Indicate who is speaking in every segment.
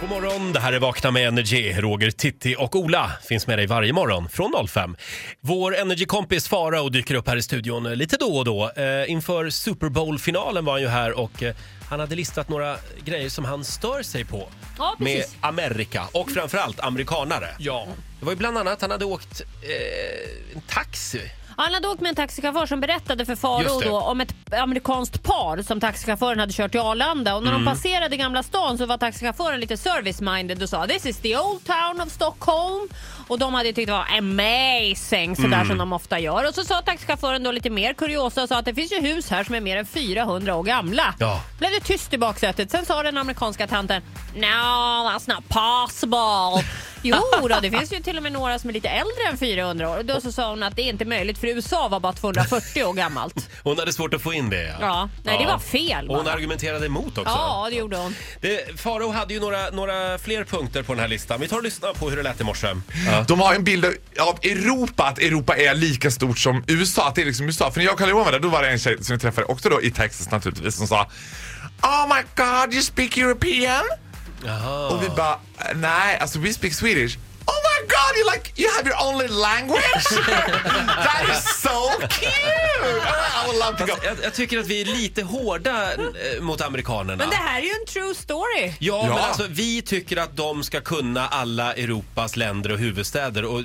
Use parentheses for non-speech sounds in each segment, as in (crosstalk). Speaker 1: God morgon, det här är Vakna med Energy. Roger, Titti och Ola finns med dig varje morgon från 05. Vår Energy-kompis Farao dyker upp här i studion eh, lite då och då. Eh, inför Super Bowl-finalen var han ju här och eh, han hade listat några grejer som han stör sig på
Speaker 2: Ja,
Speaker 1: med
Speaker 2: precis.
Speaker 1: Amerika och framförallt amerikanare.
Speaker 3: Ja.
Speaker 1: Det var ju bland annat han hade åkt eh, en taxi.
Speaker 2: Han hade åkt med en taxichaufför som berättade för
Speaker 1: Just
Speaker 2: Faro
Speaker 1: det.
Speaker 2: då om ett amerikanskt par som taxichauffören hade kört till Arlanda. Och när de passerade Gamla stan så var taxichauffören lite service-minded och sa “This is the old town of Stockholm” och de hade ju tyckt det var amazing, sådär som de ofta gör. Och så sa taxichauffören då lite mer kuriosa och sa att det finns ju hus här som är mer än 400 år gamla.
Speaker 1: Ja.
Speaker 2: Blev det tyst i baksätet. Sen sa den amerikanska tanten “No, that's not possible” Jo då, det finns ju till och med några som är lite äldre än 400 år. Och Då så sa hon att det är inte möjligt för USA var bara 240 år gammalt.
Speaker 1: Hon hade svårt att få in det.
Speaker 2: Ja, nej, det var fel
Speaker 1: Och hon
Speaker 2: bara.
Speaker 1: argumenterade emot också.
Speaker 2: Ja, det gjorde hon.
Speaker 1: Det, Faro hade ju några, några fler punkter på den här listan. Vi tar och lyssnar på hur det lät i morse. Ja.
Speaker 3: De har en bild av Europa, att Europa är lika stort som USA. Att det är liksom USA. För när jag och Carl-Johan var där, då var det en tjej som jag träffade också då i Texas naturligtvis som sa Oh my god, you speak European? Och vi bara, nej, alltså we speak Swedish. Oh my god, you like, you have your only
Speaker 1: (laughs)
Speaker 3: language? That is so cute! I would love to go.
Speaker 1: Fast Alltså, Jag, jag tycker att vi är lite hårda eh, mot amerikanerna.
Speaker 2: Men det här är ju en true story.
Speaker 1: Ja,
Speaker 3: Ja.
Speaker 1: men alltså vi tycker att de ska kunna alla Europas länder och huvudstäder. Och, eh,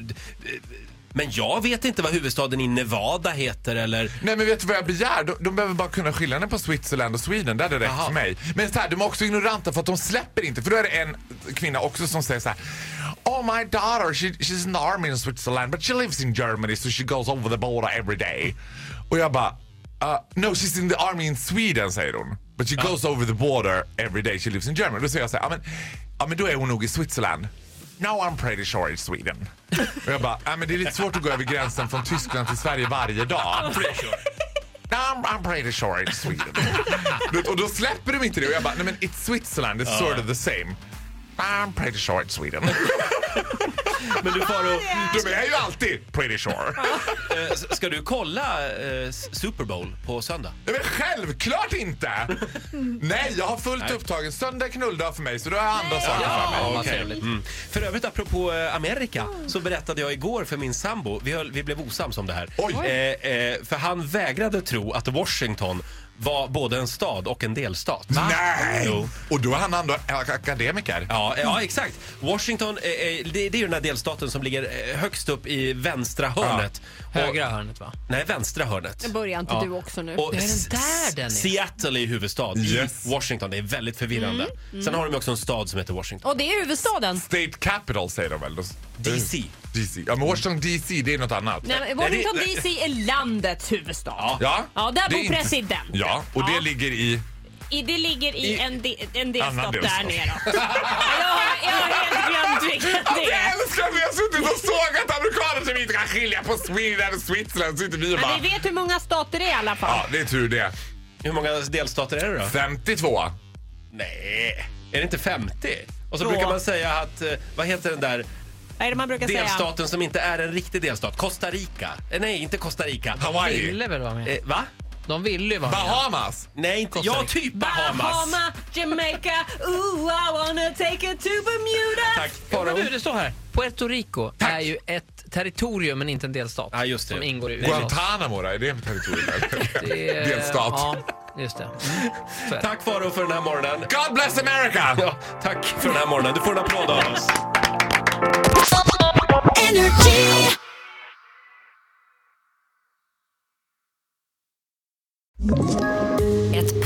Speaker 1: men jag vet inte vad huvudstaden i Nevada heter
Speaker 2: (laughs)
Speaker 1: eller...
Speaker 3: Nej men vet du vad jag begär? De, de behöver bara kunna skillnaden på Switzerland och Sweden. Där är det rätt
Speaker 1: Jaha.
Speaker 3: för mig. Men så här, de är också ignoranta för att de släpper inte. För då är det en kvinna också som säger så här. Oh my daughter, she, she's in the army in Switzerland but she lives in Germany so she goes over the border every day. Och jag bara, "Uh, no she's in the army in Sweden säger hon. But she goes over the border every day she lives in Germany. Då säger jag så här, ja men, ja, men då är hon nog i Switzerland. No I'm pretty sure it's Sweden. Och jag bara, ja men det är lite svårt att gå över gränsen från Tyskland till Sverige varje dag. No, I'm, I'm pretty sure it's Sweden. Du vet, och då släpper de inte det och jag bara, nej men it's Switzerland, it's sort of the same. I'm pretty sure it's Sweden.
Speaker 1: Men du Faro,
Speaker 3: De är ju alltid pretty sure.
Speaker 1: eh, s- ska du kolla eh, s- Super Bowl på söndag?
Speaker 3: Nej, men självklart inte! Nej, jag har fullt upptagen. Söndag är knulldag för mig så då har jag andra saker för mig.
Speaker 1: Ja, okej. mm. För övrigt, apropå eh, Amerika, så berättade jag igår för min sambo, vi, höll, vi blev osams om det här.
Speaker 3: Oj.
Speaker 1: Eh, eh, för han vägrade tro att Washington var både en stad och en delstat.
Speaker 3: Nej!
Speaker 1: Jo.
Speaker 3: Och då är han ändå ak- akademiker.
Speaker 1: Ja, eh, ja, exakt. Washington, eh, eh, det, det är ju den här delstaten som ligger eh, högst upp i vänstra hörnet. Och-
Speaker 4: Högra hörnet va?
Speaker 1: Nej, vänstra hörnet.
Speaker 2: Börjar inte du också nu?
Speaker 1: Och
Speaker 4: Det är den
Speaker 1: S-
Speaker 4: där den är.
Speaker 1: Seattle är huvudstad
Speaker 3: Yes.
Speaker 1: i Washington. Det är väldigt förvirrande.
Speaker 2: Mm.
Speaker 1: Sen har de ju också en stad som heter Washington.
Speaker 2: Och det är huvudstaden.
Speaker 3: State Capital säger de väl? Då-
Speaker 1: DC.
Speaker 3: DC. Ja, men Washington DC det är något annat.
Speaker 2: Nej, men
Speaker 1: Nej, det-
Speaker 2: Washington DC är landets huvudstad. Ja,
Speaker 3: Ja,
Speaker 2: där
Speaker 3: det är
Speaker 2: bor
Speaker 3: inte-
Speaker 2: presidenten.
Speaker 3: Ja, och det
Speaker 2: Ja.
Speaker 3: ligger i...
Speaker 2: I, det ligger i, en, de, en
Speaker 3: Annan
Speaker 2: delstat
Speaker 3: delstat.
Speaker 2: där nere. jag, har, jag har helt glömt vilken det är.
Speaker 3: Jag älskar att vi har suttit och sågat amerikaner som inte kan skilja på Sweden och Switzerland. Så sitter vi och bara...
Speaker 2: Men vi vet hur många stater det är i alla fall.
Speaker 3: Ja, det är tur det.
Speaker 1: Hur många delstater är det då?
Speaker 3: 52.
Speaker 1: Nej, är det inte 50? Och så
Speaker 2: Då.
Speaker 1: brukar man säga att, eh, vad heter den där
Speaker 2: Vad är det man brukar säga?
Speaker 1: delstaten som inte är en riktig delstat? Costa Rica? Eh, nej, inte Costa Rica.
Speaker 3: Hawaii.
Speaker 4: Ville väl vara med?
Speaker 1: Eh, va?
Speaker 4: De ville ju vara med.
Speaker 3: Bahamas.
Speaker 1: Nej, inte.
Speaker 4: Costa
Speaker 1: Ja,
Speaker 4: Rica.
Speaker 1: typ Bahamas.
Speaker 2: Bahama, Jamaica, ooh I wanna take it to Bermuda.
Speaker 1: Tack.
Speaker 4: Ja, men
Speaker 1: Farao.
Speaker 4: du, det står här. Puerto Rico är ju ett territorium men inte en delstat.
Speaker 1: Ja, just det.
Speaker 4: Som ingår i USA.
Speaker 3: Guantanamo då? Är det
Speaker 1: (laughs)
Speaker 3: en territorium?
Speaker 4: Det är-
Speaker 3: Delstat.
Speaker 4: Ja, just det. Mm. Så är det.
Speaker 1: Tack Faro för den här morgonen.
Speaker 3: God bless America!
Speaker 1: Ja, tack för den här morgonen. Du får en applåd av oss.
Speaker 5: Ett